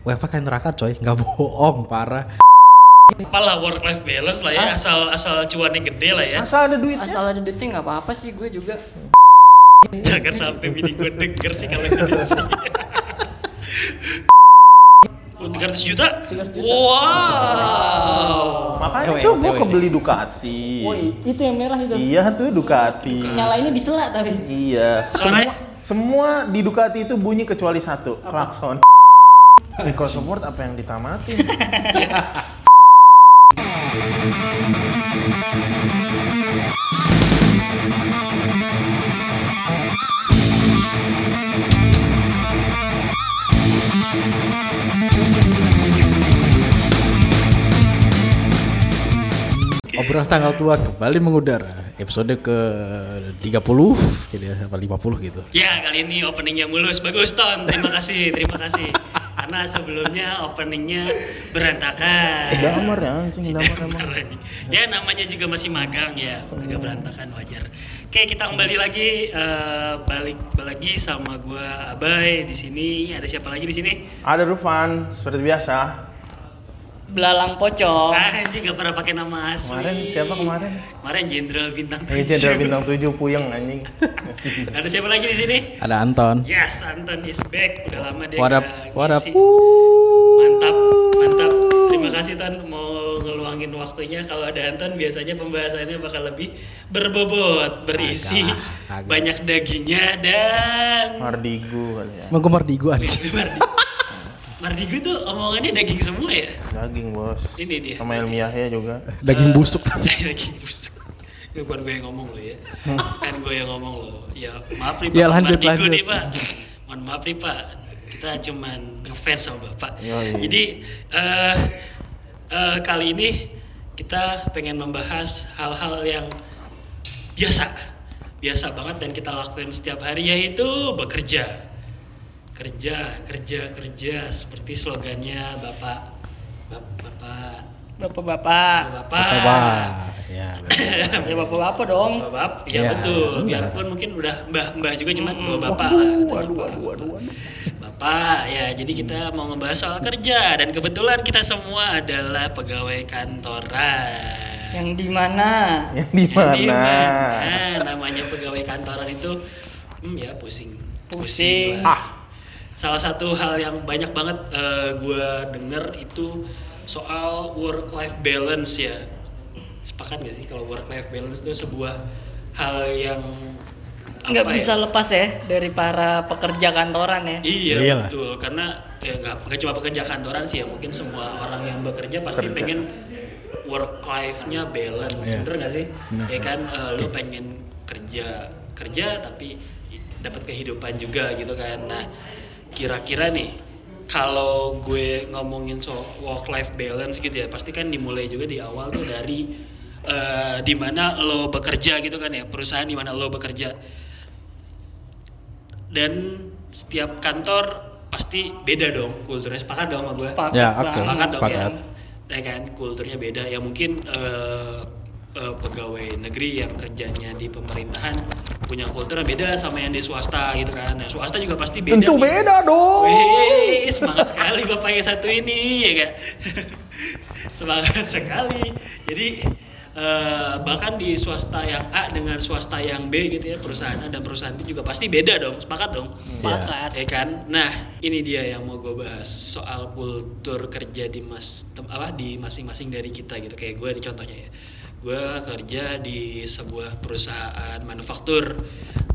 WFH kayak neraka coy, nggak bohong, parah. apalah work life balance lah ya asal asal cuannya gede lah ya Asal ada duitnya. Asal ada duitnya nggak apa-apa sih gue juga. jangan sampai bini gue denger sih kalau gede sih tiga ratus juta? 300 juta. wow Makanya Ewe, tuh gue ewe. kebeli Ducati. Woi, itu yang merah itu. Iya tuh Ducati. Nyalainnya di selak tapi. Iya. Soalnya- Semua, semua di Ducati itu bunyi kecuali satu, klakson. Record support apa yang ditamatin? Obrolan tanggal tua kembali mengudara. Episode ke 30, jadi apa 50 gitu. Ya kali ini openingnya mulus, bagus Ton, terima kasih, terima kasih Karena sebelumnya openingnya berantakan Damar ya anjing, damar emang. Ya namanya juga masih magang ya, Iya. agak berantakan wajar Oke kita kembali lagi, eh, balik lagi sama gua Abai di sini Ada siapa lagi di sini? Ada Rufan seperti biasa. Belalang pocong. Ah, Anjing gak pernah pakai nama asli Oh. Kemarin, siapa kemarin? Kemarin Jenderal Bintang Ini cendera bintang 7 puyeng anjing. Ada siapa lagi di sini? Ada Anton. Yes, Anton is back. Udah lama Iya, dia What up, nggak what up? Uh, ngisi. Mantap, mantap. Terima kasih Tan mau ngeluangin waktunya. Kalau ada Anton biasanya pembahasannya bakal lebih berbobot, berisi, Agak lah, agak. banyak dagingnya dan Mardigu kali ya. Emang gue mardigu anjing. Mardi. Mardigu tuh omongannya daging semua ya. Daging bos. Ini dia. Sama Ilmiah ya juga. Eh, Daging busuk. daging busuk. Ya, bukan gue yang ngomong lo ya. Kan gue yang ngomong lo. Ya maaf nih Pak. Ya, lanjut, Mardigu lanjut. nih, Pak. Mohon maaf nih Pak. Kita cuman ngefans sama Bapak. Yoi. Jadi eh eh, kali ini kita pengen membahas hal-hal yang biasa. Biasa banget dan kita lakuin setiap hari yaitu bekerja. Kerja, kerja, kerja seperti slogannya Bapak Bap- Bapak Bapak-bapak. Bapak. Coba. Ya. Ya bapak-bapak dong. Bapak, Ya, ya, betul. benar. Biarpun mungkin udah mbah-mbah juga cuman bawa bapak. Waduh, lah. waduh, waduh, waduh, waduh. Bapak, ya jadi kita mau ngebahas soal kerja dan kebetulan kita semua adalah pegawai kantoran. Ya, Yang di mana? Yang di Jadi, mana? nah, namanya pegawai kantoran itu hmm, ya pusing. Pusing. lah. Ah. Salah satu hal yang banyak banget gue denger itu soal work life balance ya. Sepakat gak sih kalau work life balance itu sebuah hal yang Nggak apa bisa ya? lepas ya dari para pekerja kantoran ya. Iya Iyalah. betul karena ya nggak nggak cuma pekerja kantoran sih ya mungkin semua orang yang bekerja pasti Kerja. pengen work life-nya balance Iya. bener nggak sih? Bener. Ya kan eh, lu pengen kerja kerja tapi dapat kehidupan juga gitu kan. Nah kira-kira nih kalau gue ngomongin soal work life balance gitu ya pasti kan dimulai juga di awal tuh dari eh, di mana lo bekerja gitu kan ya perusahaan di mana lo bekerja dan setiap kantor pasti beda dong kulturnya sepakat dong sama gue Sepakat Ya, oke. banget. dong Sepakat. ya Ya kan kulturnya beda ya mungkin eh, eh, pegawai negeri yang kerjanya di pemerintahan punya kulturnya beda sama yang di swasta gitu kan nah swasta juga pasti beda Tentu nih. beda dong. Wih, semangat sekali bapak yang satu ini, ya kan? semangat sekali. Jadi eh, bahkan di swasta yang A dengan swasta yang B gitu ya perusahaan A dan perusahaan B juga pasti beda dong, sepakat dong, Hmm. Sepakat. ya kan? Nah ini dia yang mau gue bahas soal kultur kerja di mas tem- apa di masing-masing dari kita gitu kayak gue di contohnya ya. Gue kerja di sebuah perusahaan manufaktur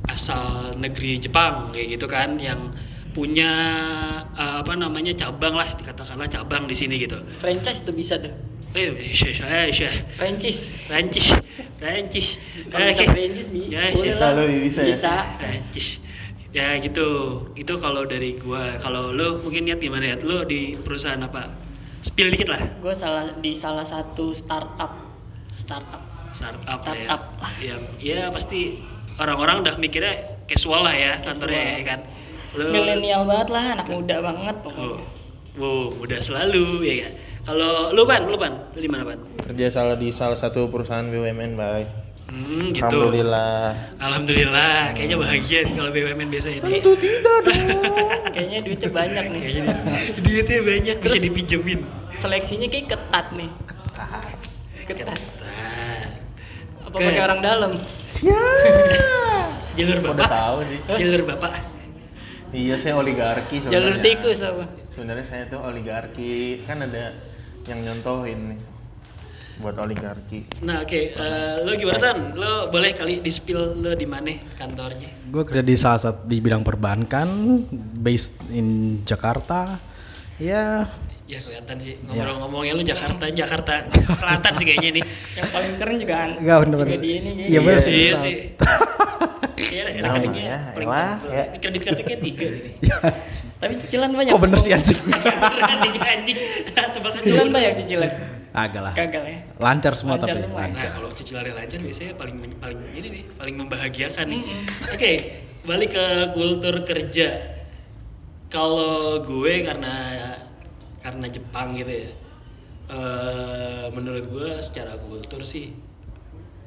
asal negeri Jepang kayak gitu kan yang punya eh, apa namanya cabang lah dikatakanlah cabang di sini gitu. Franchise tuh bisa tuh. Eh, syah, syah, syah. Franchise. Prancis, Prancis. Kalau bisa Oke. Prancis bi. Eh. Ya, boleh bisa lah. lu, bisa ya? Bisa. Prancis. Ya gitu. Itu kalau dari gua. Kalau lu mungkin niat gimana ya? Lu di perusahaan apa? Spill dikit lah. Gue salah di salah satu startup startup. Startup, Startup. ya. Yang ya pasti orang-orang udah mikirnya casual lah ya kantornya Casual. ya kan. Milenial banget lah, anak muda banget Oh, pokoknya. wow, udah selalu ya kan. Kalau lu ban, lu ban, lu di mana ban? Kerja salah di salah satu perusahaan BUMN, Bay. Hmm, gitu. Alhamdulillah. Alhamdulillah, kayaknya bahagia nih kalau BUMN biasanya nih. Tentu tidak dong. Kayaknya duitnya banyak nih. Kayaknya di- duitnya banyak bisa Terus- dipinjemin. Seleksinya kayak ketat nih. Ketat. Nah, Apa Oke. pakai orang dalam? jalur Kok bapak. udah tahu sih? Jalur bapak. Iya, saya oligarki sebenarnya. Jalur tikus apa? Sebenarnya saya tuh oligarki. Kan ada yang nyontohin nih buat oligarki. Nah, oke, eh, lo gimana Tan? Lo boleh kali di spill lo di mana kantornya? Gue kerja di salah satu di bidang perbankan, based in Jakarta. Ya, Ya kelihatan Iya. sih ngobrol-ngomongnya lo Jakarta, Jakarta Selatan sih kayaknya nih. Yang paling keren juga an- Enggak, bener-bener. juga di ini gitu. kayaknya. Iya, bener. iya Selatan. sih. Iya, Nah, rekeningnya ya, paling elah, tebel. ya. Ini Kredit kartu kayak tiga ini. Tapi cicilan banyak. kok bener sih anjing? tiga anjing. Tebak Cicilan cicilan banyak cicilan. Agak lah. Gagal ya. Lancar semua Lancar tapi. semua. Nah, Lancar. kalau cicilannya lancar biasanya paling paling ini nih, paling membahagiakan nih. Oke, balik ke kultur kerja. Kalau gue karena karena Jepang gitu ya. eh, menurut gue secara kultur sih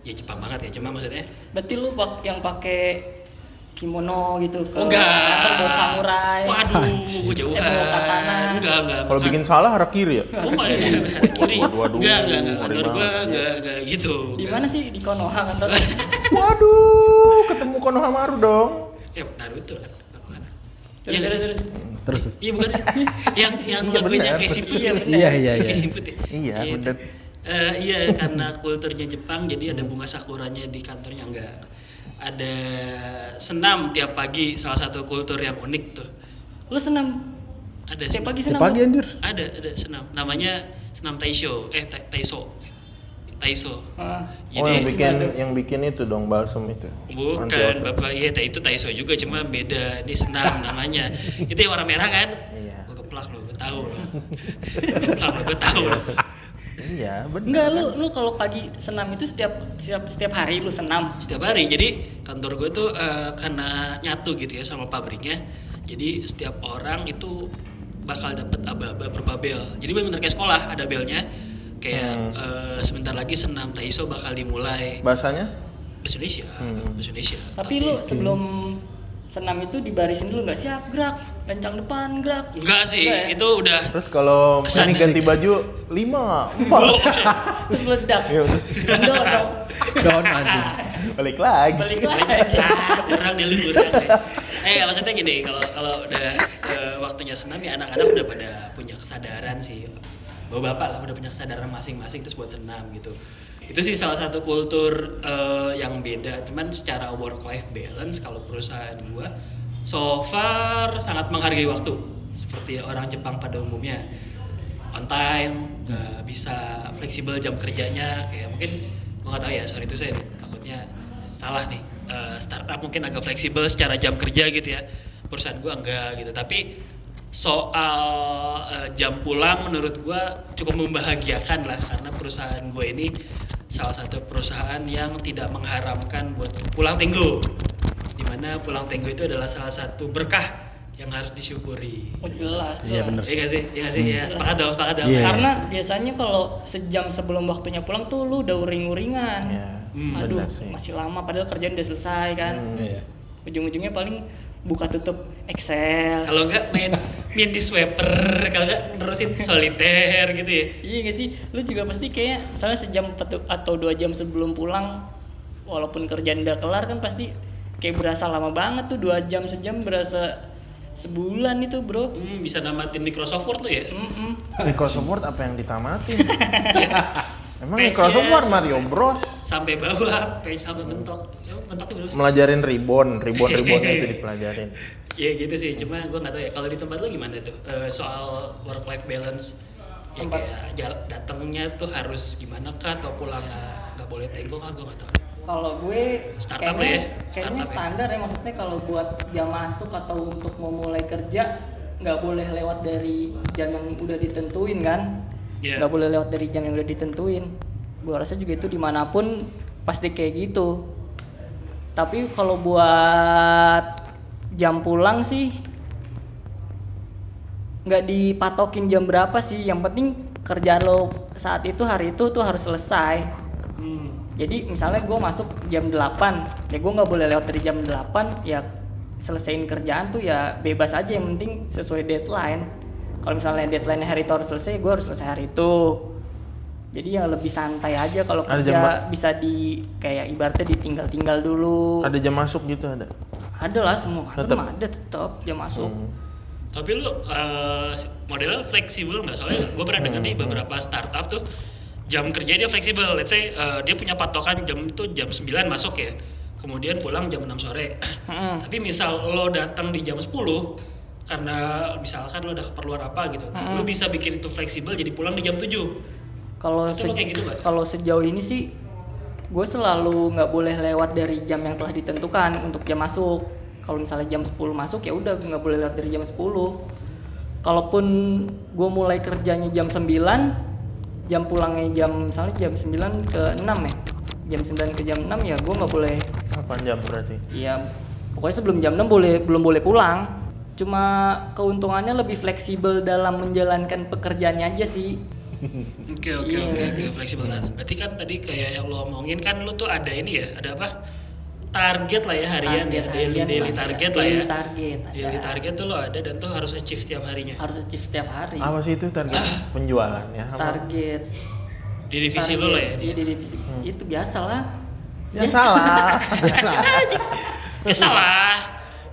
ya Jepang banget ya, cuma maksudnya Berarti lu pak yang pakai kimono gitu ke Oh, enggak. kantor bawa samurai. Waduh, gue jauhan. Eh, bawa katana. Enggak, enggak. Kalau bukan. bikin salah harap kiri ya? Oh, enggak, enggak, enggak, kiri. Waduh, waduh, Enggak, enggak, enggak. ngeri Kantor gue banget. enggak, enggak gitu. Di Enggak. mana sih di Konoha kan kantor? Waduh, ketemu Konohamaru dong. Ya, Naruto kan. Bukan. Terus, terus, terus. Terus Iya bukan yang yang Iya, lagunya benar. Casey Putih Iya, yang- iya, iya, iya. Casey Putih. Iya, benar. Eh, iya karena kulturnya Jepang jadi ada bunga sakuranya di kantornya enggak ada senam tiap pagi salah satu kultur yang unik tuh Lu senam. ada Tiap senam. pagi Tiap senam. pagi lu? anjir. ada ada senam namanya senam taisho eh ta- taiso taiso oh, Ah. yang jadi bikin yang bikin itu dong balsam itu. Anti bukan otot. bapak iya ta- itu taiso juga cuma beda ini senam namanya itu yang warna merah kan Iya. gue keplak lo gue tahu lo gue keplak lo gue tahu lo Iya, benar. Enggak lu lu kalau pagi senam itu setiap setiap setiap hari lu senam. setiap hari jadi kantor gue tuh eh, karena nyatu gitu ya sama pabriknya jadi setiap orang itu bakal dapet aba-aba berbabel jadi benar-benar kayak sekolah ada belnya kayak Hmm. eh, sebentar lagi senam taiso bakal dimulai Bahasanya? bahasa Indonesia Hmm. bahasa Indonesia Tapi lu sebelum senam itu dibarisin dulu nggak siap gerak, kencang depan gerak. enggak sih Enggak ya? itu udah Terus kalau Kesannya ini ganti baju lima, empat. Terus meledak. Ya udah. Kendor dong. down anjing. Balik lagi. Balik Balik. lagi. Ah, kurang dia lu kurang deh. eh maksudnya gini kalau kalau udah eh, waktunya senam ya anak-anak udah pada punya kesadaran sih bapak bapak lah udah punya kesadaran masing-masing terus buat senam gitu itu sih salah satu kultur eh, yang beda cuman secara work life balance kalau perusahaan gua so far sangat menghargai waktu seperti orang Jepang pada umumnya on time eh, bisa fleksibel jam kerjanya kayak mungkin gua nggak tahu ya sorry itu saya takutnya salah nih Eh, startup mungkin agak fleksibel secara jam kerja gitu ya perusahaan gua enggak gitu tapi soal eh, jam pulang menurut gua cukup membahagiakan lah karena perusahaan gue ini salah satu perusahaan yang tidak mengharamkan buat pulang tenggo dimana pulang tenggo itu adalah salah satu berkah yang harus disyukuri Oh, jelas. Iya, jelas. bener. Hmm. iya gak sih iya nggak sih ya sepakat dong sepakat dong Iya. Karena biasanya kalau sejam sebelum waktunya pulang tuh lu udah uring-uringan. Iya. Hmm, Aduh, bener sih. masih lama padahal kerjaan udah selesai kan. Hmm, Iya. Ujung-ujungnya paling buka tutup Excel. kalau enggak main main di sweeper kalau enggak nerusin solitaire gitu ya Iya gak sih? Lu juga pasti kayak misalnya sejam petu- atau dua jam sebelum pulang walaupun kerjaan udah kelar kan pasti kayak berasa lama banget tuh dua jam sejam berasa sebulan itu bro Hmm, bisa namatin Microsoft Word lu ya? Mm-mm. Microsoft Word apa yang ditamatin? Emang Pes, Microsoft ya, Word sampai- Mario Bros. Sampai bawah, sampai sampai mentok. Ya, mentok tuh Nah. dulu. Melajarin ribbon, ribbon-ribbon itu dipelajarin. Ya gitu sih, cuma gue nggak tahu ya. Kalau di tempat lu gimana tuh Eh, soal work life balance? Ya Tempat- kayak jal- datangnya tuh harus gimana kah atau pulang nggak boleh tengok kah gue nggak tahu. Kalau gue Startup lah kayaknya, ya, kayaknya startup ya. standar ya maksudnya kalau buat jam masuk atau untuk mau mulai kerja nggak boleh lewat dari jam yang udah ditentuin kan? Iya. Nggak boleh lewat dari jam yang udah ditentuin. Gue rasa juga itu dimanapun pasti kayak gitu. Tapi kalau buat jam pulang sih nggak dipatokin jam berapa sih. Yang penting kerjaan lo saat itu hari itu tuh harus selesai Hmm. jadi misalnya gue masuk jam 8 ya gue nggak boleh lewat dari jam 8 ya selesaiin kerjaan tuh ya bebas aja yang penting sesuai deadline kalau misalnya deadline hari itu harus selesai gue harus selesai hari itu jadi ya lebih santai aja kalau Ada jam kerja bisa di kayak ibaratnya ditinggal-tinggal dulu Ada jam masuk gitu ada. ada lah semua kantor Tetep. Hmm. mah ada tetap jam masuk Tapi lu eh, modelnya fleksibel nggak? Soalnya gue pernah dengar nih beberapa startup tuh jam kerja dia fleksibel. Let's say eh, dia punya patokan jam itu jam 9 masuk ya. Kemudian pulang jam 6 sore. Mm-mm. Tapi misal lo datang di jam 10 karena misalkan lo ada keperluan apa gitu. Lo bisa bikin itu fleksibel jadi pulang di jam 7. kalau Itu lo se- kayak gitu nggak? kalau sejauh ini sih gue selalu nggak boleh lewat dari jam yang telah ditentukan untuk jam masuk kalau misalnya jam 10 masuk ya udah nggak boleh lewat dari jam 10 kalaupun gue mulai kerjanya jam 9 jam pulangnya jam misalnya jam 9 ke 6 ya jam 9 ke jam 6 ya gue nggak boleh 8 jam berarti. ya pokoknya sebelum jam 6 boleh belum boleh pulang cuma keuntungannya lebih fleksibel dalam menjalankan pekerjaannya aja sih Oke oke Iya oke nggak oke sih? fleksibel. Nah, berarti kan tadi kayak yang lo omongin kan lo tuh ada ini ya, ada apa? Target lah ya harian ya, daily harian daily pasti target ada. lah ya. Daily target ada. Daily target tuh lo ada dan tuh harus achieve setiap harinya. harus achieve setiap hari Apa sih itu target penjualan ya? Apa? Iya. target Di divisi lo lah ya. iya di divisi itu biasa lah Hmm. Ya salah. Ya salah.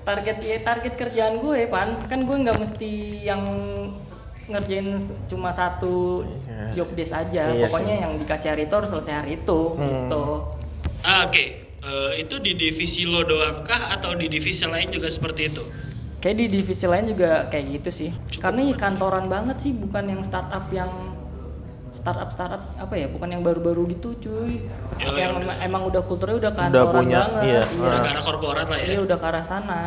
target ya target kerjaan gue pan kan gue nggak mesti yang ngerjain s- cuma satu Iya. job desk aja Iya pokoknya sih. yang dikasih hari itu harus selesai hari itu Hmm. gitu Ah, Oke, Eh, itu di divisi lo doang kah atau di divisi lain juga seperti itu? kayak di divisi lain juga kayak gitu sih karena ya kantoran banget sih bukan yang startup yang startup startup apa ya bukan yang baru-baru gitu cuy Ya, ya yang udah. emang, emang udah kulturnya udah kantoran punya, banget iya. Udah Ah. ke arah korporat lah Iya ya. udah ke arah sana.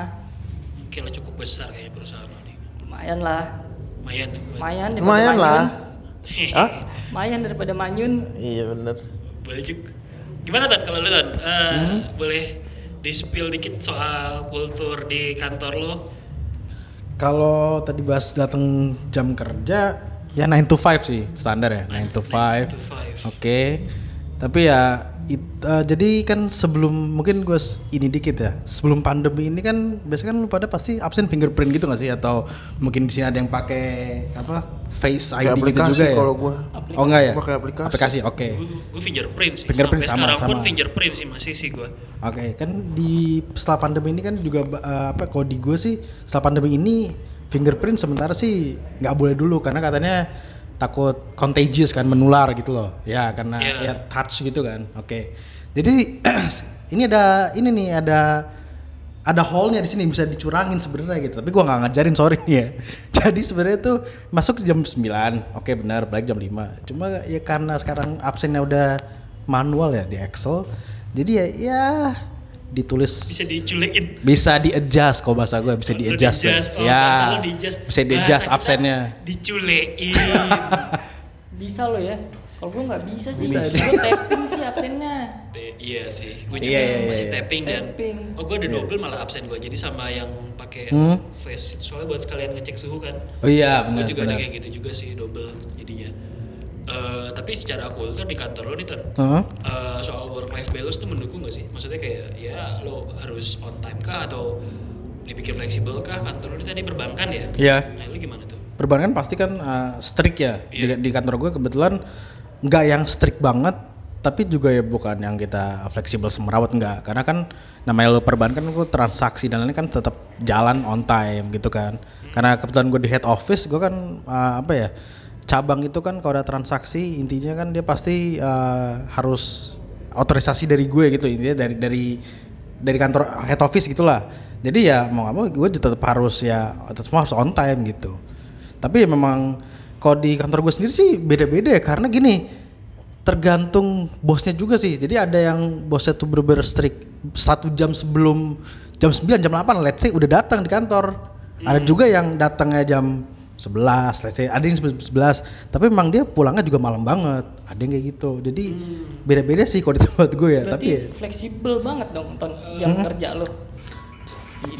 Oke lah cukup besar kayaknya perusahaan lo nih. Lumayan lah. Lumayan nih buat. Lumayan daripada Lumayan Manyun. lah. Hah? Lumayan daripada Manyun. Iya bener. Boleh juga. Gimana Tan kalau lu Tan? Eh, Boleh di-spill dikit soal kultur di kantor lo? Kalau tadi bahas datang jam kerja, ya 9 to 5 sih standar ya, 9 to 5. to five. Oke. Tapi ya it- eh, jadi kan sebelum mungkin gue ini dikit ya. Sebelum pandemi ini kan biasanya kan lu pada pasti absen fingerprint gitu gak sih atau mungkin di sini ada yang pakai apa? Face ID Kayak gitu aplikasi juga ya. kalau gua. Oh enggak ya? Pakai aplikasi. Aplikasi, oke. Gue fingerprint sih. Fingerprint Sampai sama, sekarang pun sama. fingerprint sih masih sih gue. Oke, kan di setelah pandemi ini kan juga eh, apa kalau di gue sih setelah pandemi ini fingerprint sementara sih nggak boleh dulu karena katanya takut contagious kan menular gitu loh. Ya karena ya Iya. touch gitu kan. Oke. Jadi ini ada ini nih ada ada hallnya di sini bisa dicurangin sebenarnya gitu tapi gua nggak ngajarin sorry nih ya jadi sebenarnya tuh masuk jam 9 oke benar balik jam 5 cuma ya karena sekarang absennya udah manual ya di Excel jadi ya ya ditulis Bisa diculekin. bisa di adjust kalau bahasa gue bisa Lu di adjust ya, di-adjust, oh, Ya, bahasa lu di-adjust. bisa di Bahasa adjust kita absennya Diculein. Bisa lo ya. Kalau gue nggak bisa sih. Bisa. Gue tapping sih absennya. Eh, iya sih, gue Iya, juga iya, iya, masih iya. tapping dan Tapping. oh gue ada Iya. double malah absen gue jadi sama yang pakai Hmm. face soalnya buat sekalian ngecek suhu kan. oh iya gue benar juga benar ada kayak gitu juga sih double jadinya. Eh, tapi secara kultur di kantor lo nih Ton, Heeh. Eh, soal work life balance tuh mendukung gak sih? Maksudnya kayak ya lo harus on time kah atau dibikin fleksibel kah? Kantor lo ini tadi perbankan ya? Iya. Nah, lo gimana tuh? perbankan pasti kan uh, strict ya Iya. di, di kantor gue kebetulan nggak yang strict banget tapi juga ya bukan yang kita fleksibel semerawat nggak karena kan namanya lo perbankan gue transaksi dan lain kan tetap jalan on time gitu kan karena kebetulan gue di head office gue kan uh, apa ya cabang itu kan kalau ada transaksi intinya kan dia pasti uh, harus otorisasi dari gue gitu intinya dari dari dari kantor head office gitulah jadi ya mau nggak mau gue tetap harus ya tetap harus on time gitu tapi ya memang kalau di kantor gue sendiri sih beda-beda ya karena gini tergantung bosnya juga sih. Jadi ada yang bosnya tuh bener-bener strict satu jam sebelum jam 9, jam 8 let's say udah datang di kantor. Ada juga yang datangnya jam 11, let's say ada yang sebelum 11, tapi memang dia pulangnya juga malam banget. Ada yang kayak gitu. Jadi beda-beda sih kalau di tempat gue ya, tapi Berarti ya, fleksibel banget dong ton jam kerja lo.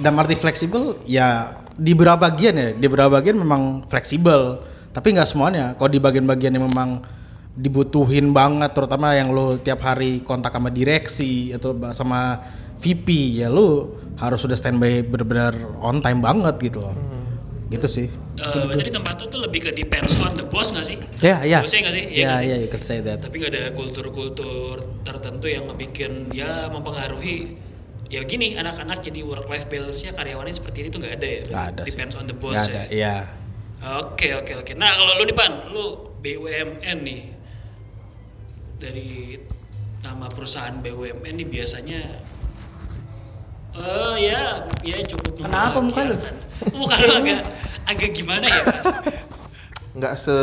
dalam arti fleksibel ya di beberapa bagian ya di beberapa bagian memang fleksibel tapi nggak semuanya kalau di bagian-bagian yang memang dibutuhin banget terutama yang lu tiap hari kontak sama direksi atau ba- sama VP ya lu harus sudah standby benar-benar on time banget gitu loh. Hmm. Gitu sih. Eh, berarti di tempat lu tuh lebih ke depends on the boss nggak sih? Ya, ya. Bosnya nggak sih? Iya Ya, nggak sih? ya, you can say that. Tapi nggak ada kultur-kultur tertentu yang ngebikin ya mempengaruhi ya gini anak-anak jadi work life balance-nya karyawannya seperti ini tuh nggak ada ya. Nggak ada sih. Depends on the boss Nggak ada, ya. iya. Oke oke oke. Nah kalau lu di pan, lu BUMN nih dari nama perusahaan BUMN nih biasanya eh ya ya cukup Kenapa muka lu? membahagiakan. Muka lu agak agak gimana ya? Pak? nggak se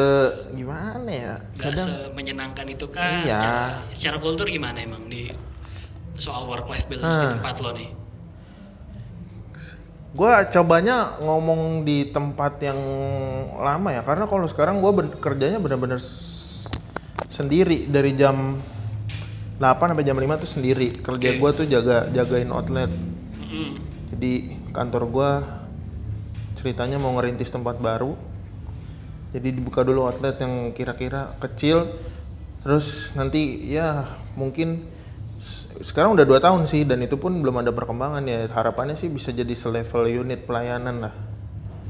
gimana ya nggak kadang semenyenangkan itu kan Iya. secara, secara kultur gimana emang di soal work life balance di Ah. tempat lo nih gua cobanya ngomong di tempat yang lama ya karena kalau sekarang gua ben- kerjanya bener-bener s- sendiri dari jam 8 sampai jam 5 tuh sendiri kerja Oke. gua tuh jaga jagain outlet Mm-mm. jadi kantor gua ceritanya mau ngerintis tempat baru jadi dibuka dulu outlet yang kira-kira kecil terus nanti ya mungkin s- sekarang udah dua tahun sih dan itu pun belum ada perkembangan ya harapannya sih bisa jadi selevel unit pelayanan lah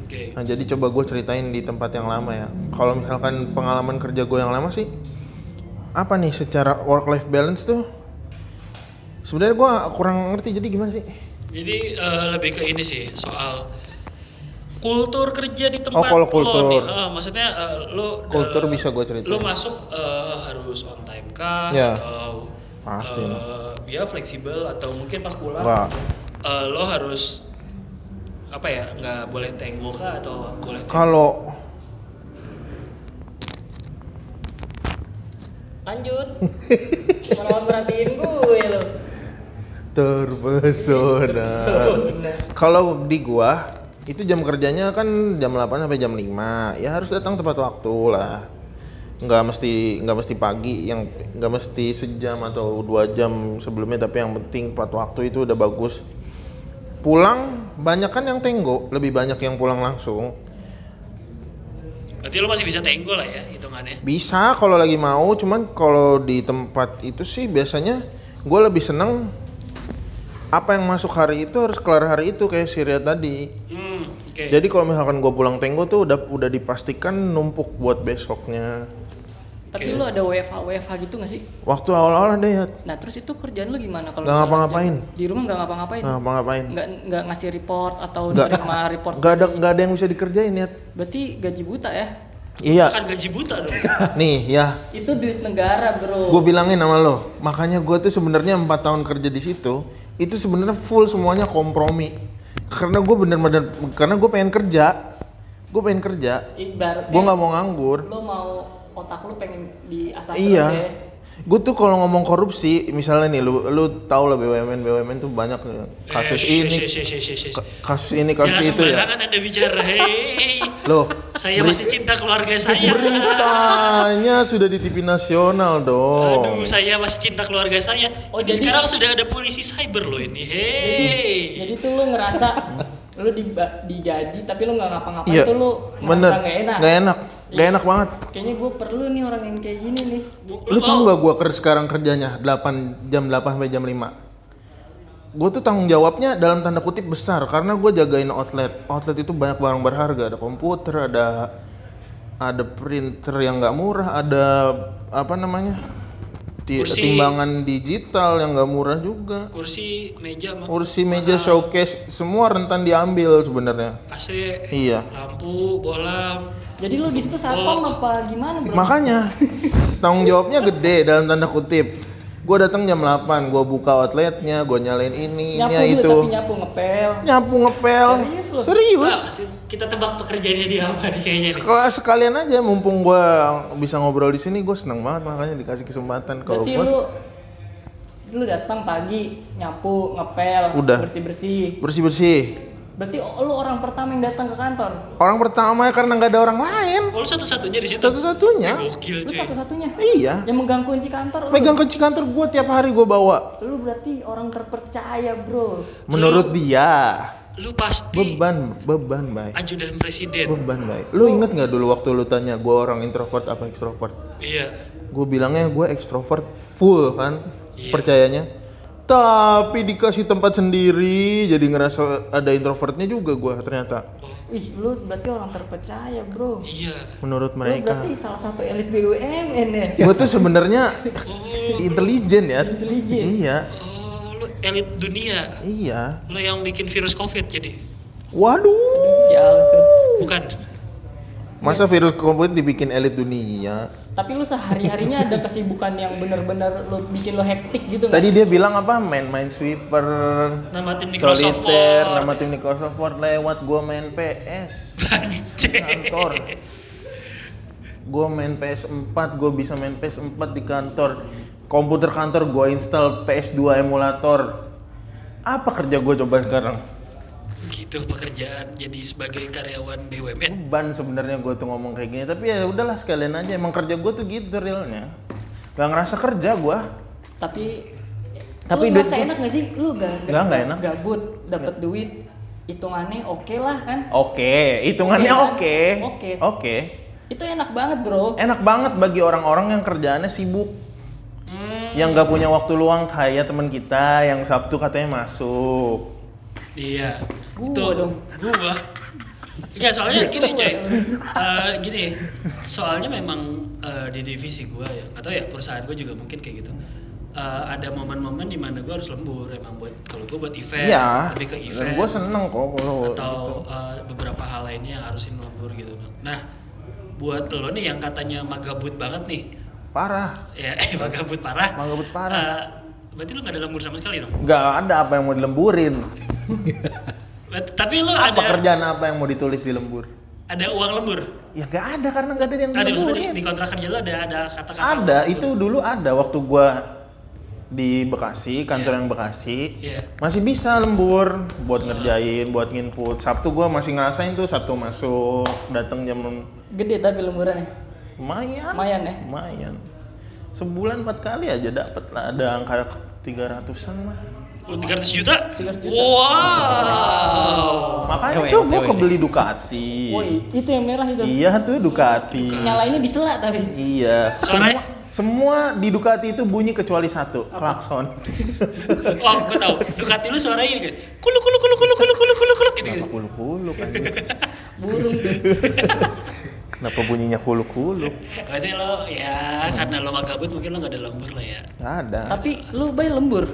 oke Nah, jadi coba gue ceritain di tempat yang lama ya. Kalau misalkan pengalaman kerja gue yang lama sih, apa nih secara work life balance tuh? Sebenarnya gue kurang ngerti. Jadi gimana sih? jadi eh, lebih ke ini sih soal kultur kerja di tempat Oh, lo kalau nih kultur. Eh, maksudnya eh, lo Kultur eh, bisa gua ceritain. lo masuk eh, harus on time kah Ya. atau Pasti eh, lah. ya fleksibel atau mungkin pas pulang Wah. eh, lo harus apa ya nggak boleh tengok kah atau boleh tengok? Kalau Lanjut. Malah merhatiin gue ya lo. terpesona. Terpesona. Kalau di gua itu jam kerjanya kan jam 8 sampai jam 5. Ya harus datang tepat waktu lah. Nggak mesti nggak mesti pagi yang nggak mesti sejam atau dua jam sebelumnya tapi yang penting tepat waktu itu udah bagus. Pulang banyak kan yang tenggo, lebih banyak yang pulang langsung. Berarti lo masih bisa tenggol lah ya hitungannya. Bisa kalau lagi mau, cuman kalau di tempat itu sih biasanya gue lebih seneng apa yang masuk hari itu harus kelar hari itu kayak Syria tadi. Hmm, oke. Jadi kalau misalkan gue pulang tenggo tuh udah udah dipastikan numpuk buat besoknya. Tapi Oke. lo ada WFH WFH gitu gak sih? Waktu awal-awal ada ya Nah terus itu kerjaan lo gimana kalau Nggak misalnya ngapa-ngapain. kerja- Di rumah nggak ngapa-ngapain. ngapa-ngapain? Iya, Nggak nggak ngasih report atau Nah, Nggak. nerima report. Gak ada nggak ada yang bisa dikerjain ya. Berarti gaji buta ya? Iya. Kan gaji buta dong. Nih ya, Itu duit negara bro. gue bilangin sama lo. Makanya gue tuh sebenarnya empat tahun kerja di situ itu sebenarnya full semuanya kompromi. Karena gue bener-bener karena gue pengen kerja, gue pengen kerja. Ibaratnya Gue nggak mau nganggur. lo mau otak lo pengen diasah Iya. terus ya. Gue tuh kalau ngomong korupsi, misalnya nih lu lu tahu lah BUMN BUMN tuh banyak nih, kasus Eh, ini, shush, shush, shush, shush, shush. ka- kasus ini kasus Jangan itu ya. sembarangan Anda bicara. Hei. Loh, Saya beri- masih cinta keluarga saya. beritanya sudah di TV nasional dong. Aduh, saya masih cinta keluarga saya. Oh, Oh, jadi- sekarang sudah ada polisi cyber loh ini. Hei. Jadi tuh lo ngerasa lo diba- digaji tapi lo nggak ngapa-ngapain Iya, tuh lo bener, ngerasa nggak enak. nggak enak, nggak Iya. enak banget. Kayaknya gue perlu nih orang yang kayak gini nih. Lu tau nggak gue ker sekarang kerjanya 8 jam 8 sampai jam 5 Gue tuh tanggung jawabnya dalam tanda kutip besar karena gue jagain outlet. Outlet itu banyak barang berharga, ada komputer, ada ada printer yang nggak murah, ada apa namanya ti- Kursi. timbangan digital yang nggak murah juga. kursi, meja, ma- Kursi, meja, showcase, semua rentan diambil sebenarnya. AC, Iya. lampu, bolam. Jadi lo di situ satpam apa gimana bro? Makanya tanggung jawabnya gede dalam tanda kutip. Gue datang jam 8, gue buka outletnya, gue nyalain ini, nyapu ini, dulu itu. tapi nyapu ngepel. Nyapu ngepel. Serius lu? Nah. Serius. Wah, kita tebak pekerjaannya dia apa nih kayaknya nih. Sekal- sekalian aja mumpung gua bisa ngobrol di sini, gue seneng banget makanya dikasih kesempatan kalau Berarti gua lu lu datang pagi nyapu ngepel Udah. bersih bersih. bersih-bersih. Berarti lu orang pertama yang datang ke kantor. Orang pertama ya karena nggak ada orang lain. Oh, lu satu-satunya di situ. Satu-satunya. Gokil, Lu cuy. satu satunya Iya. yang megang kunci kantor. lu. Megang kunci kantor gua tiap hari gua bawa. Lu berarti orang terpercaya bro. Menurut dia Lu pasti beban beban baik. ajudan presiden. Beban baik. Lu inget nggak dulu waktu lu tanya gua orang introvert apa ekstrovert? Iya. gue bilangnya gue ekstrovert full kan Iya. percayanya tapi dikasih tempat sendiri jadi ngerasa ada introvertnya juga gue ternyata Ih, lu berarti orang terpercaya, Bro. Iya. menurut Lu mereka berarti salah satu elit BUMN ya. gue tuh sebenarnya intelijen ya Intelijen. iya Oh, lu elit dunia. iya Lu yang bikin virus Covid jadi. waduh Jauh tuh. Bukan. Iya. masa virus covid dibikin elit dunia Tapi lu sehari-harinya ada kesibukan yang bener-bener lu bikin lu hektik gitu nggak? tadi dia bilang apa main main sweeper Nama tim Microsoft solitaire Word. nama tim Microsoft Word lewat gue main PS Anjing. kantor gue main PS4 gue bisa main PS4 di kantor komputer kantor gue install PS2 emulator apa kerja gue coba sekarang Gitu pekerjaan jadi sebagai karyawan BUMN. ban sebenarnya gue tuh ngomong kayak gini tapi ya udahlah sekalian aja emang kerja gue tuh gitu realnya gak ngerasa kerja gue Tapi Tapi lu duit ngerasa gua- enak gak sih? Lu gak, Nggak, nggak enak. Gabut, dapet duit, hitungannya oke lah kan? oke hitungannya Oke, oke kan? oke Oke. Itu enak banget bro. enak banget bagi orang-orang yang kerjaannya sibuk yang gak punya waktu luang kayak teman kita yang Sabtu katanya masuk Iya. Gua Tuh, dong. Gua. Enggak, soalnya gini, coy. Eh, gini, soalnya memang eh, di divisi gua ya, atau ya perusahaan gua juga mungkin kayak gitu. Eh, ada momen-momen di mana gua harus lembur emang buat kalau gua buat event, Iya. lebih ke event. Gue seneng kok kalau gitu. atau eh, beberapa hal lainnya yang harusin lembur gitu. Nah, buat lo nih yang katanya magabut banget nih, parah. ya magabut parah. Magabut parah. Eh, berarti lo gak ada lembur sama sekali dong. Gak ada apa yang mau dilemburin. Bet- Tapi lo Apa ada kerjaan apa yang mau ditulis di lembur? ada uang lembur. Ya gak ada karena gak ada yang Ada maksudnya dilemburin. di, di kontrak kerja lo ada ada kata-kata. Ada itu dulu ada waktu gua di Bekasi kantor Iya. yang Bekasi Iya. masih bisa lembur buat ngerjain buat nginput Sabtu gua masih ngerasain tuh Sabtu masuk datang jam Gede tapi lemburannya. lumayan Lumayan ya. lumayan sebulan empat kali aja dapat lah ada angka 300-an lah Oh, 300 juta? 300 juta. Wow. Makanya Ewe, tuh gue ewe. kebeli Ducati. Woi, itu yang merah itu. Iya tuh Ducati. Nyalainnya di sela tapi. Iya. Suaranya? Semua, semua di Ducati itu bunyi kecuali satu, klakson. Oh, gue tahu. Ducati lu suaranya gini kayak kuluk kuluk kuluk kuluk kuluk kuluk kuluk kuluk gitu. Kenapa gitu. kuluk-kuluk anjir? Burung tuh. Kenapa bunyinya kuluk-kuluk? Berarti lo ya Hmm. karena lo magabut mungkin lo gak ada lembur lah ya. Nggak ada. tapi lu bay lembur.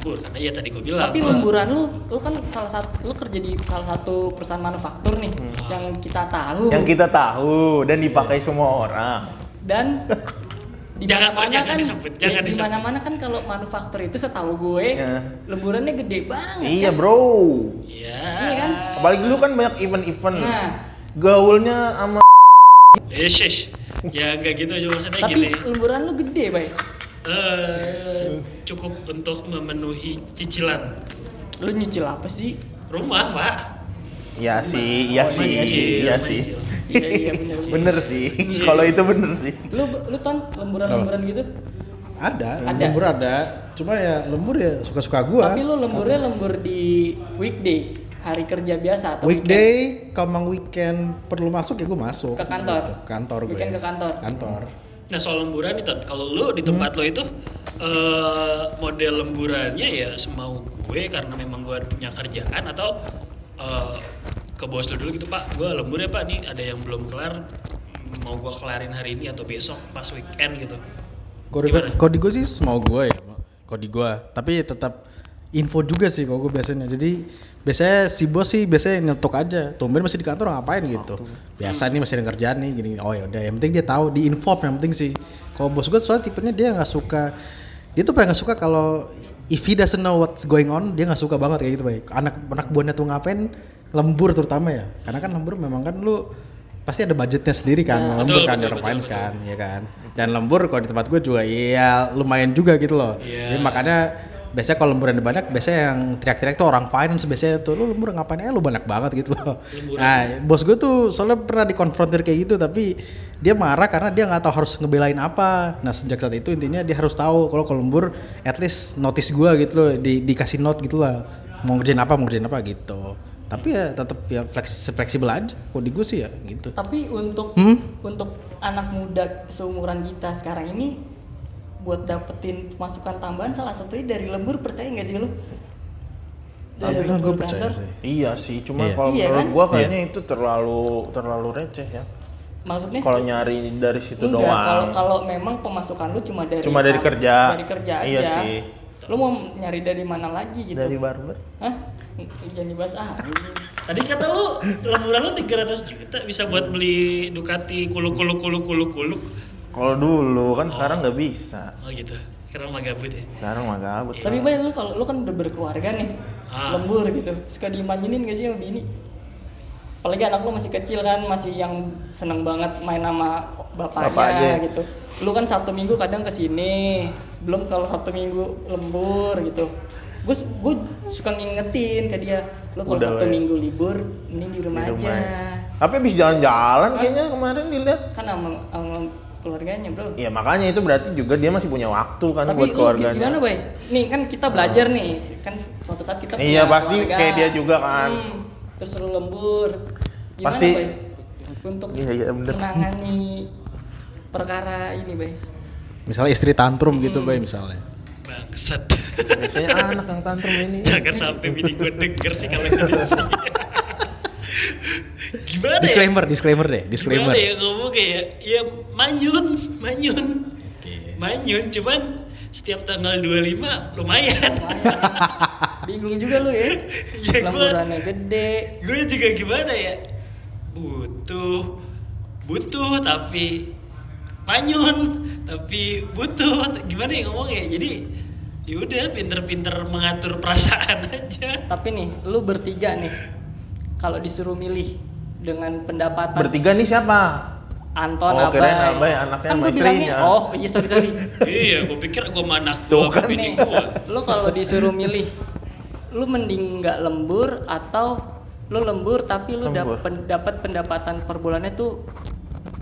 Lembur karena ya tadi gue bilang. Tapi gua- lemburan lu, lu kan salah satu lu kerja di salah satu perusahaan manufaktur nih Hmm. yang kita tahu. Yang kita tahu dan dipakai semua orang. dan di Jangan, mana-mana jangan kan disebut, jangan di, di disebut. mana-mana kan kalau manufaktur itu setahu gue Ya. lemburannya gede banget. Iya kan? bro. Iya. Iya kan? Apalagi lu kan banyak event-event. Hmm. Nah. Gaulnya sama Eh, shush. Ya enggak gitu aja maksudnya Tapi gini. lemburan lu gede, bay. Eh, cukup untuk memenuhi cicilan Lu nyicil apa sih? rumah, Pak. Ya sih, iya sih, iya sih, iya sih. Cicil. Iya iya bener. sih. Bener sih. Kalau itu bener sih. Lu lu ton lemburan-lemburan gitu? Ada, Ada. lembur ada. Cuma ya lembur ya suka-suka gua. Tapi lu lemburnya lembur di weekday, hari kerja biasa atau Weekday, kalau weekend perlu masuk ya gua masuk. Ke kantor? Ke kantor gue. Weekend ke kantor? Kantor. Nah soal lemburan nih, Tat. kalau lu di Hmm. tempat lo itu eh, model lemburannya ya semau gue karena memang gue punya kerjaan atau eh, ke bos lu dulu gitu pak, gue lembur ya pak nih ada yang belum kelar mau gue kelarin hari ini atau besok pas weekend gitu. Kode gue, Gimana? kode gue sih semau gue ya, kode gue. Tapi tetap info juga sih kalau gue biasanya. Jadi biasanya si bos sih biasanya nyetok aja. Tumben masih di kantor ngapain Oh, gitu. Biasa nih masih ada kerjaan nih gini. Oh ya udah, yang penting dia tahu di inform yang penting sih. Kalau bos gue soalnya tipenya dia nggak suka dia tuh paling nggak suka kalau if he doesn't know what's going on dia nggak suka banget kayak gitu baik anak anak buahnya tuh ngapain lembur terutama ya karena kan lembur memang kan lu pasti ada budgetnya sendiri kan Ya, Nah, betul, lembur kan betul, your betul, finance betul. kan ya kan dan lembur kalau di tempat gue juga iya lumayan juga gitu loh Iya. jadi makanya biasanya kalau lemburan ada banyak biasanya yang teriak-teriak tuh orang finance biasanya tuh lu lembur ngapain eh lu banyak banget gitu loh Lemburan. nah bos gue tuh soalnya pernah dikonfrontir kayak gitu tapi dia marah karena dia nggak tahu harus ngebelain apa nah sejak saat itu intinya dia harus tahu kalau kalau lembur at least notice gue gitu loh di, dikasih note gitu lah mau ngerjain apa mau ngerjain apa gitu tapi ya tetap ya fleks fleksibel aja kok di gue sih ya gitu Tapi untuk Hmm? untuk anak muda seumuran kita sekarang ini buat dapetin masukan tambahan salah satunya dari lembur percaya nggak sih lu? Dari Alhamdulillah gue lembur Nah, percaya kantor. sih Iya sih, cuma Iya. kalau Iya menurut kan? gua kayaknya itu terlalu terlalu receh ya. Maksudnya Kalau nyari dari situ Eh. enggak, doang. kalau kalau memang pemasukan lu cuma dari Cuma dari kerja. Dari kerja aja. Iya sih. Lu mau nyari dari mana lagi gitu? Dari barber. Hah? Jangan dibahas ah. Tadi kata lu lemburan lu 300 juta bisa buat beli Ducati kuluk kuluk kuluk kuluk kuluk. Kalau dulu kan sekarang nggak bisa. Oh gitu. Karena mah gabut ya. Sekarang mah gabut. Tapi baik lu kalau lu kan udah berkeluarga nih, Ah. lembur gitu. Suka diimajinin gak sih sama bini? Apalagi anak lu masih kecil kan, masih yang seneng banget main sama bapaknya Bapaknya. gitu. Lu kan satu minggu kadang kesini, belum kalau satu minggu lembur gitu. Gue gue suka ngingetin ke dia, lu kalau Udah satu lah ya. minggu libur, mending di rumah, Di rumah. aja. Tapi habis jalan-jalan kayaknya kemarin dilihat. Kan sama, sama keluarganya bro. Ya makanya itu berarti juga dia masih punya waktu kan Tapi buat lu keluarganya. gimana, Bay? Nih kan kita belajar nih, kan suatu saat kita Iya, punya pasti kayak dia juga kan. Hmm, terus lu lembur. Gimana, Pasti- Bay? Untuk Iya, iya, bener. menangani perkara ini, Bay. misalnya istri tantrum gitu bay misalnya Bangsat. Biasanya "Ah, anak yang tantrum ini. Jangan sampai bini gue denger sih kalau ini. Gimana ya? disclaimer disclaimer deh disclaimer Gimana ya ngomong kayak ya manyun, manyun. Iya. Manyun cuman setiap tanggal 25 lumayan. Bingung juga lu ya. Iya, gua- Lemburannya gede. gue juga gimana ya butuh butuh tapi manyun tapi butuh gimana ya ngomong ya jadi yaudah pinter-pinter mengatur perasaan aja Tapi nih, lu bertiga nih. Kalau disuruh milih dengan pendapatan Bertiga nih siapa? Anton Oh, Abai. kirain Abai anaknya kan sama gua bilangnya, istrinya. oh iya sorry sorry. iya gue pikir gue sama anak Tuh gue kan. bini gue lu kalau disuruh milih lu mending nggak lembur atau lu lembur tapi lu Lembur. dapat dapat pendapatan per bulannya tuh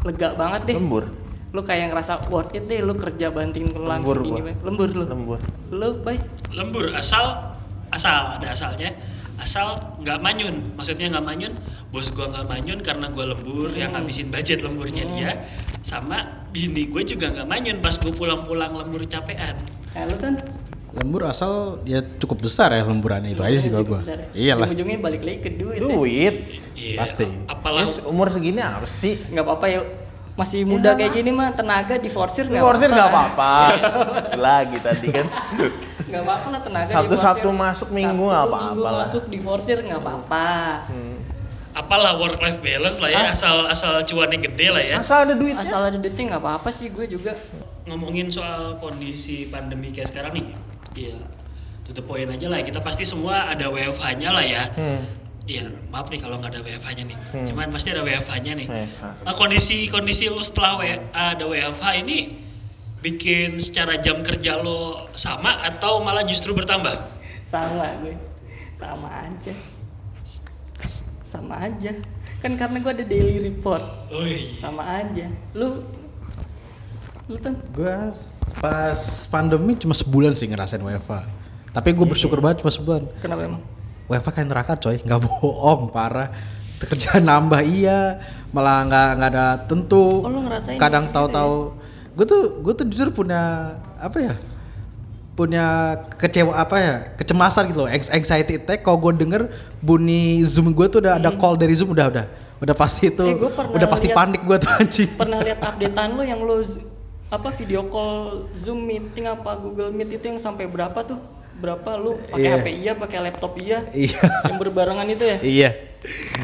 lega banget deh Lembur. lu kayak ngerasa worth it deh lu kerja banting tulang Lembur segini gua. Bay. lembur lu Lembur. lu baik lembur asal asal ada asalnya asal nggak manyun maksudnya nggak manyun bos gua nggak manyun karena gua lembur yang habisin budget lemburnya dia sama bini gue juga nggak manyun pas gue pulang-pulang lembur capean nah, lu kan lembur asal ya cukup besar ya lemburannya itu aja sih Iya kalau gue ya? iyalah ujungnya ya. balik lagi ke duit ya. Duit. Iya, Pasti. apalah Yes, umur segini apa sih? nggak apa-apa ya masih muda kayak gini mah tenaga diforsir nggak Iya Diforsir nggak apa-apa. Lagi tadi kan. nggak apa-apa lah tenaga Sabtu- diforsir. Sabtu masuk minggu Sabtu apa-apa minggu lah. masuk diforsir nggak apa-apa Hmm. apalah work life balance lah ya asal asal cuannya gede lah ya Ah. Masa ada duitnya? asal ada duitnya nggak apa-apa sih gue juga ngomongin soal kondisi pandemi kayak sekarang nih iya to the point aja lah ya. kita pasti semua ada WFH-nya lah ya Hmm. Iya, maaf nih kalau nggak ada WFH-nya nih. Cuman pasti ada WFH-nya nih. WFH. Nah, kondisi kondisi lu setelah W- ada WFH ini bikin secara jam kerja lo sama atau malah justru bertambah? sama gue sama aja sama aja kan karena gue ada daily report Oh iya. Ui, sama aja lu lu tuh gue pas pandemi cuma sebulan sih ngerasain WFA tapi gue bersyukur banget cuma sebulan kenapa emang WFA kayak neraka coy nggak bohong parah kerjaan nambah iya malah nggak nggak ada tentu Oh, lu ngerasain kadang gitu tahu-tahu gue tuh gue tuh jujur punya apa ya punya kecewa apa ya kecemasan gitu loh anx- anxiety attack kalau gue denger bunyi zoom gue tuh udah ada call dari zoom udah udah udah pasti itu Hmm. Eh, gua pernah udah pasti liat- panik gue tuh anjing pernah lihat updatean lu yang lu z- apa video call zoom meeting apa google meet itu yang sampai berapa tuh berapa lu pakai Iya. hp iya pakai laptop iya iya yang berbarengan itu ya iya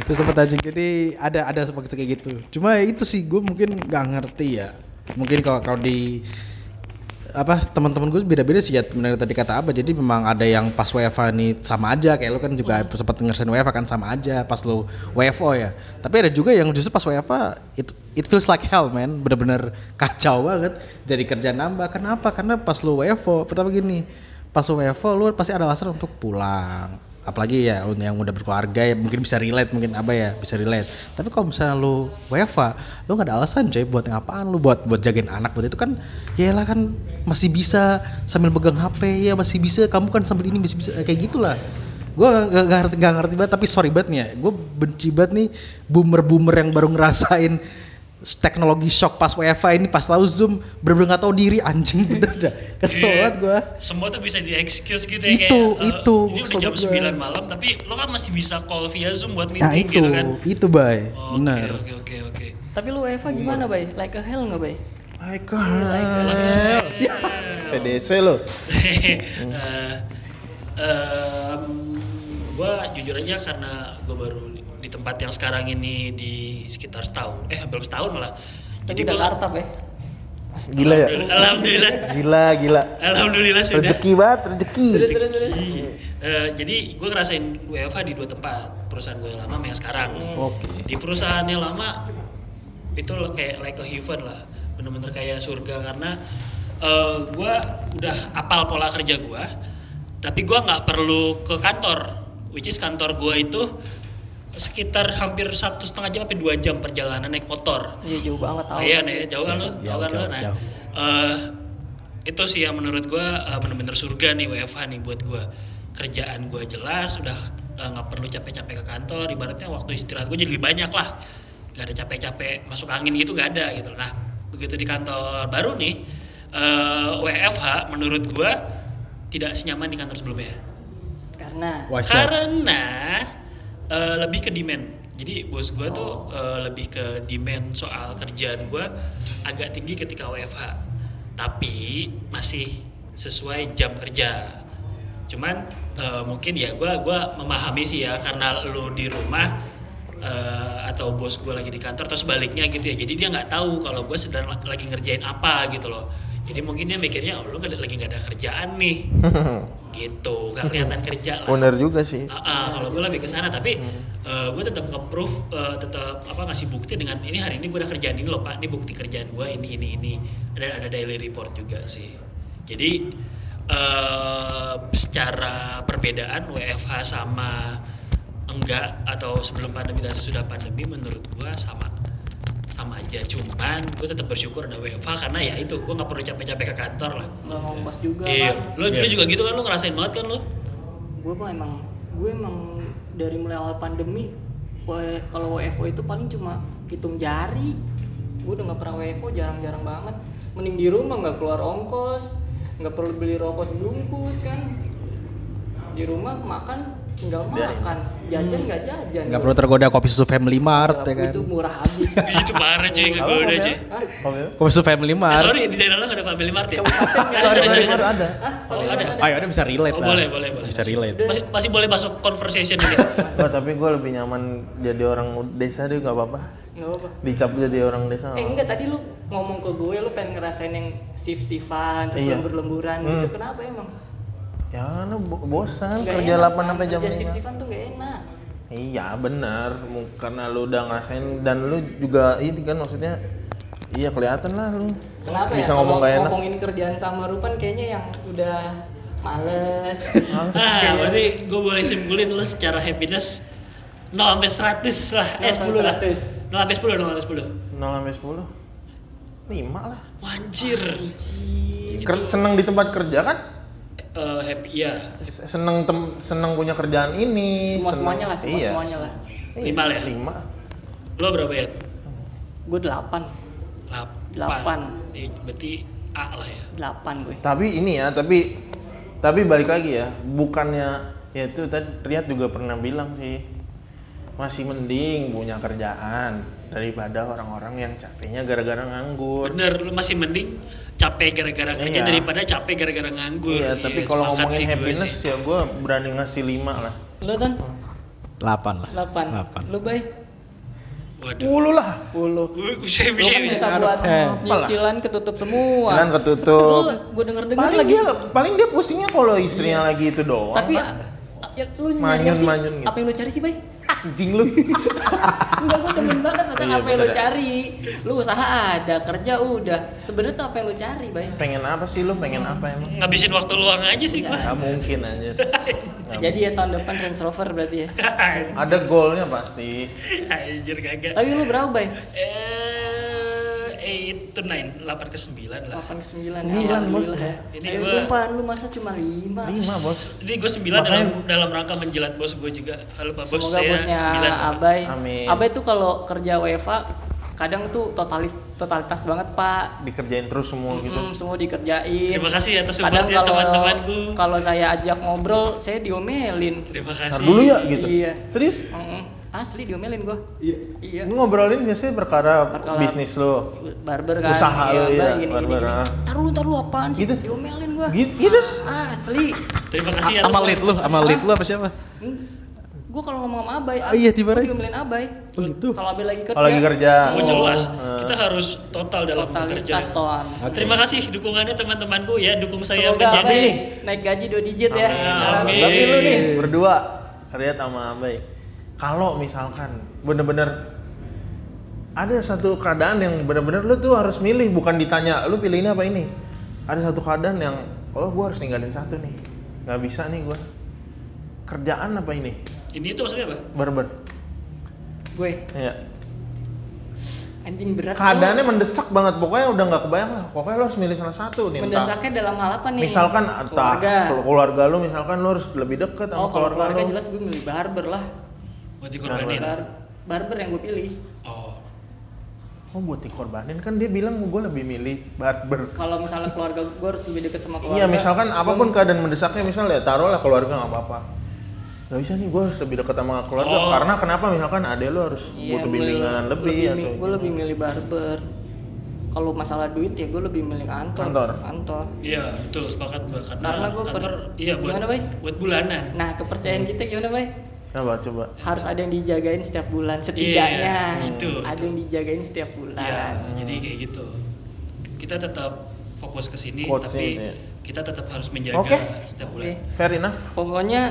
itu sempat anjing jadi ada ada sempat gitu kayak gitu cuma ya itu sih gue mungkin nggak ngerti ya mungkin kalau kalau di apa teman-teman gue beda-beda sih ya benar tadi kata apa jadi memang ada yang pas WFA nih sama aja kayak lu kan juga sempat ngerasain WFA kan sama aja pas lu WFO ya tapi ada juga yang justru pas WFA it, it feels like hell man bener-bener kacau banget jadi kerja nambah kenapa karena pas lu WFO pertama gini pas lu WFO lu pasti ada alasan untuk pulang apalagi ya yang udah berkeluarga ya mungkin bisa relate mungkin apa ya bisa relate tapi kalau misalnya lu WFA lu nggak ada alasan coy buat ngapaan lu buat buat jagain anak buat itu kan ya lah kan masih bisa sambil pegang HP ya masih bisa kamu kan sambil ini masih bisa Eh, kayak gitulah gue gak, gak ngerti gak ngerti banget tapi sorry banget nih ya gue benci banget nih boomer boomer yang baru ngerasain s- teknologi shock pas WFA ini pas tahu zoom bener-bener gak tahu diri anjing bener dah kesel Iya. banget gue Semua tuh bisa di excuse gitu ya Itu, kayak, eh, itu, Ini kesel udah jam banget gua. 9 malam tapi lo kan masih bisa call via Zoom buat meeting nah itu gitu kan. itu bay Oke, bener Oke oke oke. Tapi lu UEFA Iya. gimana, Bay? Like a hell nggak, Bay? Eh. Ya. CDC lo. Eh, gue jujur aja karena gue baru di- di tempat yang sekarang ini di sekitar setahun eh belum setahun malah Tapi gua- udah kartap ya. Gila ya. alhamdulillah Gila gila. alhamdulillah sudah Rezeki banget, rezeki. Iya. Eh, jadi gue ngerasain WFH di dua tempat perusahaan gue lama sama yang sekarang Oke. di perusahaan yang lama itu lo- kayak like a heaven lah bener-bener kayak surga karena gue udah apal pola kerja gue tapi gue nggak perlu ke kantor which is kantor gue itu sekitar hampir satu setengah jam sampai dua jam perjalanan naik motor Iya jauh banget tahu. Iya nih, jauh kan lu, Jauh, jauh kan lu. jauh, Nah, jauh. eh, itu sih yang menurut gua eh, bener-bener surga nih WFH nih buat gua. Kerjaan gua jelas, udah eh, nggak perlu capek-capek ke kantor. Ibaratnya waktu istirahat gua jadi lebih banyak lah. Gak ada capek-capek masuk angin gitu gak ada gitu. Nah, begitu di kantor baru nih eh, WFH menurut gua tidak senyaman di kantor sebelumnya. Karena Wise dad. Karena eh, lebih ke demand. Jadi bos gua tuh eh, lebih ke demand soal kerjaan gua agak tinggi ketika WFH. Tapi masih sesuai jam kerja. Cuman eh, mungkin ya gua gua memahami sih ya karena lu di rumah eh, atau bos gua lagi di kantor terus baliknya gitu ya. Jadi dia nggak tahu kalau gua sedang lagi ngerjain apa gitu loh. Jadi mungkin dia mikirnya oh, lu nggak- lagi nggak ada kerjaan nih gitu nggak kelihatan kerja lah Bener juga sih. Ah, ah, kalau gue lebih ke sana tapi gue tetap nge-proof eh, tetap apa ngasih bukti dengan ini hari ini gue udah kerjaan ini loh pak ini bukti kerjaan gue ini ini ini dan ada daily report juga sih jadi eh, secara perbedaan WFH sama enggak atau sebelum pandemi dan sesudah pandemi menurut gue sama sama aja cuman gue tetap bersyukur ada WFH karena ya itu gue nggak perlu capek-capek ke kantor lah nggak ngompas juga Iya, kan. lo dulu Iya. juga gitu kan lo ngerasain banget kan lo? gue mah emang gue emang dari mulai awal pandemi W- kalau WFO itu paling cuma hitung jari gue udah nggak pernah WFO jarang-jarang banget mending di rumah nggak keluar ongkos nggak perlu beli rokok sebungkus kan di rumah makan tinggal makan Hmm. jajan nggak jajan nggak perlu tergoda kopi susu family mart ya Nggak perlu, kan itu murah habis Ih, itu parah cuy, nggak gue udah cuy. Hah? kopi susu family Eh, mart sorry, di daerah lo nggak ada Family Mart ya? Sorry, sorry, Mar, ada. Hah? Oh, Paling ada. apa ayo ada Ah, ya bisa relate Oh, lah boleh, boleh, boleh. bisa relate Masih, masih boleh masuk conversation ini. Ah, Wah, tapi gue lebih nyaman jadi orang desa deh gak apa-apa. nggak apa-apa Dicap jadi orang Oh. desa. nggak Eh apa-apa. enggak tadi lu ngomong ke gue lu pengen ngerasain yang shift-shiftan terus Iya. lembur-lemburan Hmm. gitu kenapa emang? Ya karena bo- bosan Nggak kerja enak, 8 kan? sampai jam Kerja 5. shift-shiftan tuh gak enak. Iya benar, Mu- karena lu udah ngerasain dan lu juga itu kan maksudnya iya kelihatan lah lu. Kenapa Bisa ya? ngomong Kalau gak enak. Ngomongin kerjaan sama Rupan kayaknya yang udah males. Iya, ah, berarti gue boleh simpulin lo secara happiness 0 sampai 100 lah, eh 0 10 sampai lah. 0 sampai 10, 0 100. sampai 10. 0 sampai 10. 5 lah. Anjir. Ker- seneng di tempat kerja kan? Eh, happy, ya. S- Seneng tem- seneng punya kerjaan ini. Semua-semuanya lah, iya. semua-semuanya lah. Iya, Lima lah ya? lima. Lo berapa ya? Gue 8. 8. Delapan. Berarti A lah ya. 8 gue. Tapi ini ya, tapi tapi balik lagi ya, bukannya ya itu tadi Riyad juga pernah bilang sih masih mending punya kerjaan daripada orang-orang yang capeknya gara-gara nganggur. Bener, lu masih mending capek gara-gara kerja Iya. daripada capek gara-gara nganggur. Iya, tapi Iya, kalau sepakat ngomongin sih gue happiness sih. ya gue berani ngasih lima lah. Lu kan 8 lah 8. Lu Bay Waduh. Puluh lah. 10. Gue gue saya Lu bisa kan bisa buat Eh, apalah. nyicilan ketutup semua. Silan ketutup. Lu gue denger-denger Paling lagi dia paling dia pusingnya kalau istrinya lagi itu doang. tapi Pak. a- ya, lu nyari apa Manyun, sih? manyun gitu. apa yang lu cari sih bay anjing lu. enggak gue demen banget masalah Iya, apa yang lu bener. cari lu usaha ada kerja udah sebenarnya tuh apa yang lu cari bay pengen apa sih lu? Pengen apa emang? ngabisin waktu luang aja sih gue. Gak mungkin aja. jadi ya tahun depan Range Rover berarti ya Iya. Ada goalnya pasti. Anjir kagak. tapi lu berapa bay Eh, eight to nine, delapan ke sembilan lah. 89 Sembilan, Bos. alhamdulillah. ya. Ini Ayo gua- umpan lu masa cuma 5. lima bos Jadi gue sembilan dalam Makanya- dalam rangka menjilat bos gue juga. Halo Pak Bos, Semoga saya bosnya sembilan. Pak. Abai. Amin. Abai tuh kalau kerja WFA kadang tuh totalis totalitas banget, Pak. dikerjain terus semua gitu Mm, semua dikerjain. Terima kasih ya atas Kadang supportnya kalau- teman-temanku. Kalau saya ajak ngobrol, saya diomelin. Terima ntar kasih. dulu ya gitu Iya. serius Mm-mm. Asli diomelin gua. Iya. Iya. Lu ngobrolin biasanya perkara Perkara- bisnis lo Barber kan. Usaha lu, Abai iya, gini, gini, barber, gini. ah. Ntar lu, ntar lu apaan sih? Gitu. Diomelin gua. Gitu- gitu. Asli. Terima kasih A- sama lead lu, sama lead lu apa siapa? Gue kalau ngomong sama Abai, Ah, Oh iya, gua dimarahin. diomelin Abai. Oh gitu. Kalau Abai lagi kerja. Kalau lagi kerja. Oh, jelas. Eh. Kita harus total dalam Totalitas bekerja. toan. Oke. Terima kasih dukungannya teman-temanku ya, dukung saya Semoga Abai menjadi naik gaji 2 digit ya. Amin. Tapi lu nih berdua Riat sama Abai. Kalau misalkan bener-bener ada satu keadaan yang bener-bener lu tuh harus milih bukan ditanya lu pilih ini apa ini. Ada satu keadaan yang oh gua harus ninggalin satu nih. nggak bisa nih gua. Kerjaan apa ini? Ini itu maksudnya apa? Barber. Gue Iya. anjing berat. Keadaannya tuh. mendesak banget pokoknya udah nggak kebayang lah. Pokoknya lu harus milih salah satu nih. entah- mendesaknya dalam hal apa nih? Misalkan ah, entah keluarga. keluarga. keluarga lu misalkan lu harus lebih deket sama Oh, kalau keluarga, keluarga lu. jelas gue milih barber lah. Buat dikorbanin. Bar- barber yang gue pilih. Oh. Oh buat dikorbanin kan dia bilang gue lebih milih barber. Kalau misalnya keluarga gue harus lebih deket sama keluarga. Hmm. Iya misalkan gua apapun keadaan mendesaknya misalnya taruhlah keluarga nggak apa-apa. Gak bisa nih gue harus lebih dekat sama keluarga Oh. karena kenapa misalkan ade lu harus Iya, butuh gua bimbingan lebih, atau gue lebih milih barber kalau masalah duit ya gue lebih milih kantor Kantor. Iya, betul sepakat gua karena, Karena gua kantor per- iya buat Gimana, Bay? buat bulanan. nah kepercayaan kita gimana bay Coba coba. harus ada yang dijagain setiap bulan setidaknya Iya, itu. ada yang dijagain setiap Iya, bulan jadi kayak gitu. Kita tetap fokus ke sini Quotes-nya tapi itu ya. kita tetap harus menjaga Oke. setiap oke bulan. Fair enough. pokoknya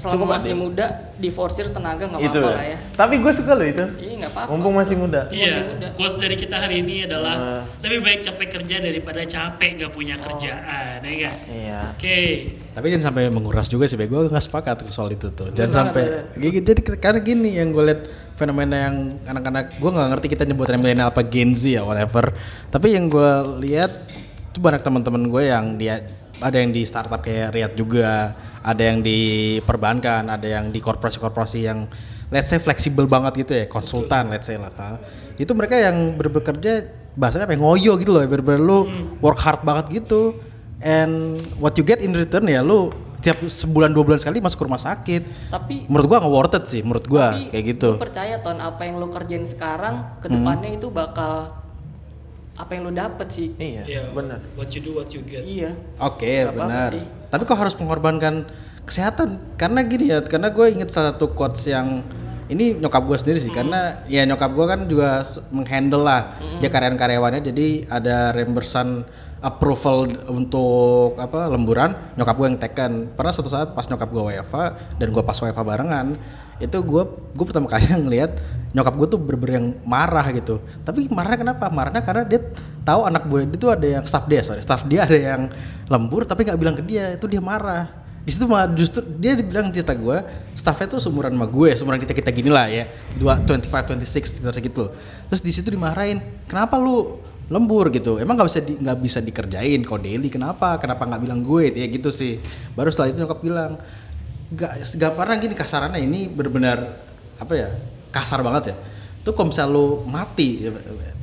selama Cukup, ya? masih Adi. muda diforsir tenaga nggak itu. apa-apa ya. lah ya Tapi gue suka loh itu. iya nggak apa-apa Mumpung masih muda. Masih Iya, muda. quotes dari kita hari ini adalah Ah. lebih baik capek kerja daripada capek nggak punya Oh. kerjaan, ya nggak? Iya. Oke. Tapi jangan sampai menguras juga sih, Bay. Gue nggak sepakat soal itu tuh. Jangan Jangan ya, sampai. Gigi- gitu, Jadi karena gini yang gue lihat fenomena yang anak-anak gue nggak ngerti kita nyebutnya milenial apa Gen Z ya whatever. Tapi yang gue lihat itu banyak teman-teman gue yang dia ada yang di startup kayak Riat juga, ada yang di perbankan, ada yang di korporasi-korporasi yang let's say fleksibel banget gitu ya, konsultan let's say lah. ha. Itu mereka yang berbekerja bahasanya apa ya, ngoyo gitu loh, bener-bener lu work hard banget gitu and what you get in return ya lu tiap sebulan dua bulan sekali masuk ke rumah sakit tapi menurut gua nggak worth it sih menurut gua tapi kayak gitu Hmm. gua percaya ton apa yang lo kerjain sekarang kedepannya itu bakal apa yang lo dapet sih Iya. Iya. Bener. What you do, what you get. iya oke Nggak apa-apa benar sih. tapi kok harus mengorbankan kesehatan karena gini ya karena gue inget salah satu quotes yang ini nyokap gue sendiri sih karena ya nyokap gue kan juga s- menghandle lah dia karyawan karyawannya jadi ada reimbursan approval untuk apa lemburan nyokap gue yang teken pernah suatu saat pas nyokap gue WFA dan gue pas WFA barengan itu gue gue pertama kali ngelihat nyokap gue tuh berber yang marah gitu tapi marahnya kenapa marahnya karena dia tahu anak gue itu ada yang staff dia sorry staff dia ada yang lembur tapi nggak bilang ke dia itu dia marah di situ malah justru dia dibilang cerita gue staffnya tuh seumuran sama gue seumuran kita kita gini lah ya dua 25 26 sekitar segitu loh. terus di situ dimarahin kenapa lu lembur gitu emang nggak bisa di- nggak bisa dikerjain kalau daily kenapa kenapa nggak bilang gue ya gitu sih baru setelah itu nyokap bilang nggak nggak pernah gini kasarannya ini benar-benar apa ya kasar banget ya itu kalau misalnya lu mati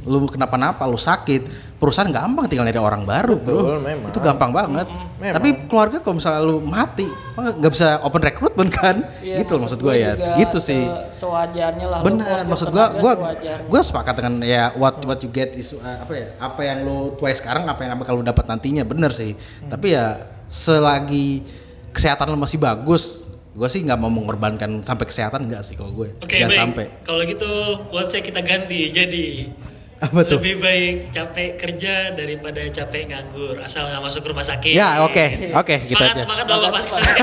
lu kenapa-napa lu sakit perusahaan gampang tinggal nyari orang baru Betul, bro memang. itu gampang banget Memang. tapi keluarga kalau misalnya lu mati emang nggak bisa open recruitment kan Iya, gitu loh maksud gue ya juga gitu sih se- sewajarnya lah lo benar fosil maksud gua tenaga gua sewajarnya. gua sepakat dengan ya what what you get is uh, apa ya apa yang lu tuai sekarang apa yang bakal lu dapat nantinya bener sih Hmm. tapi ya selagi kesehatan lu masih bagus gua sih nggak mau mengorbankan sampai kesehatan nggak sih kalau gue Oke, jangan baik. sampai Kalau gitu quotesnya kita ganti jadi Apa tuh? lebih baik capek kerja daripada capek nganggur asal nggak masuk rumah sakit. Ya, oke, oke, gitu Semangat, aja. semangat bapak Semangat,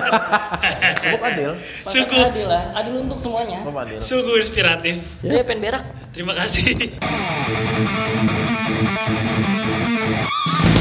Cukup adil. Makanya Cukup. adil lah adil untuk semuanya Cukup adil. Sungguh inspiratif. Ya. dia pengen berak Terima kasih.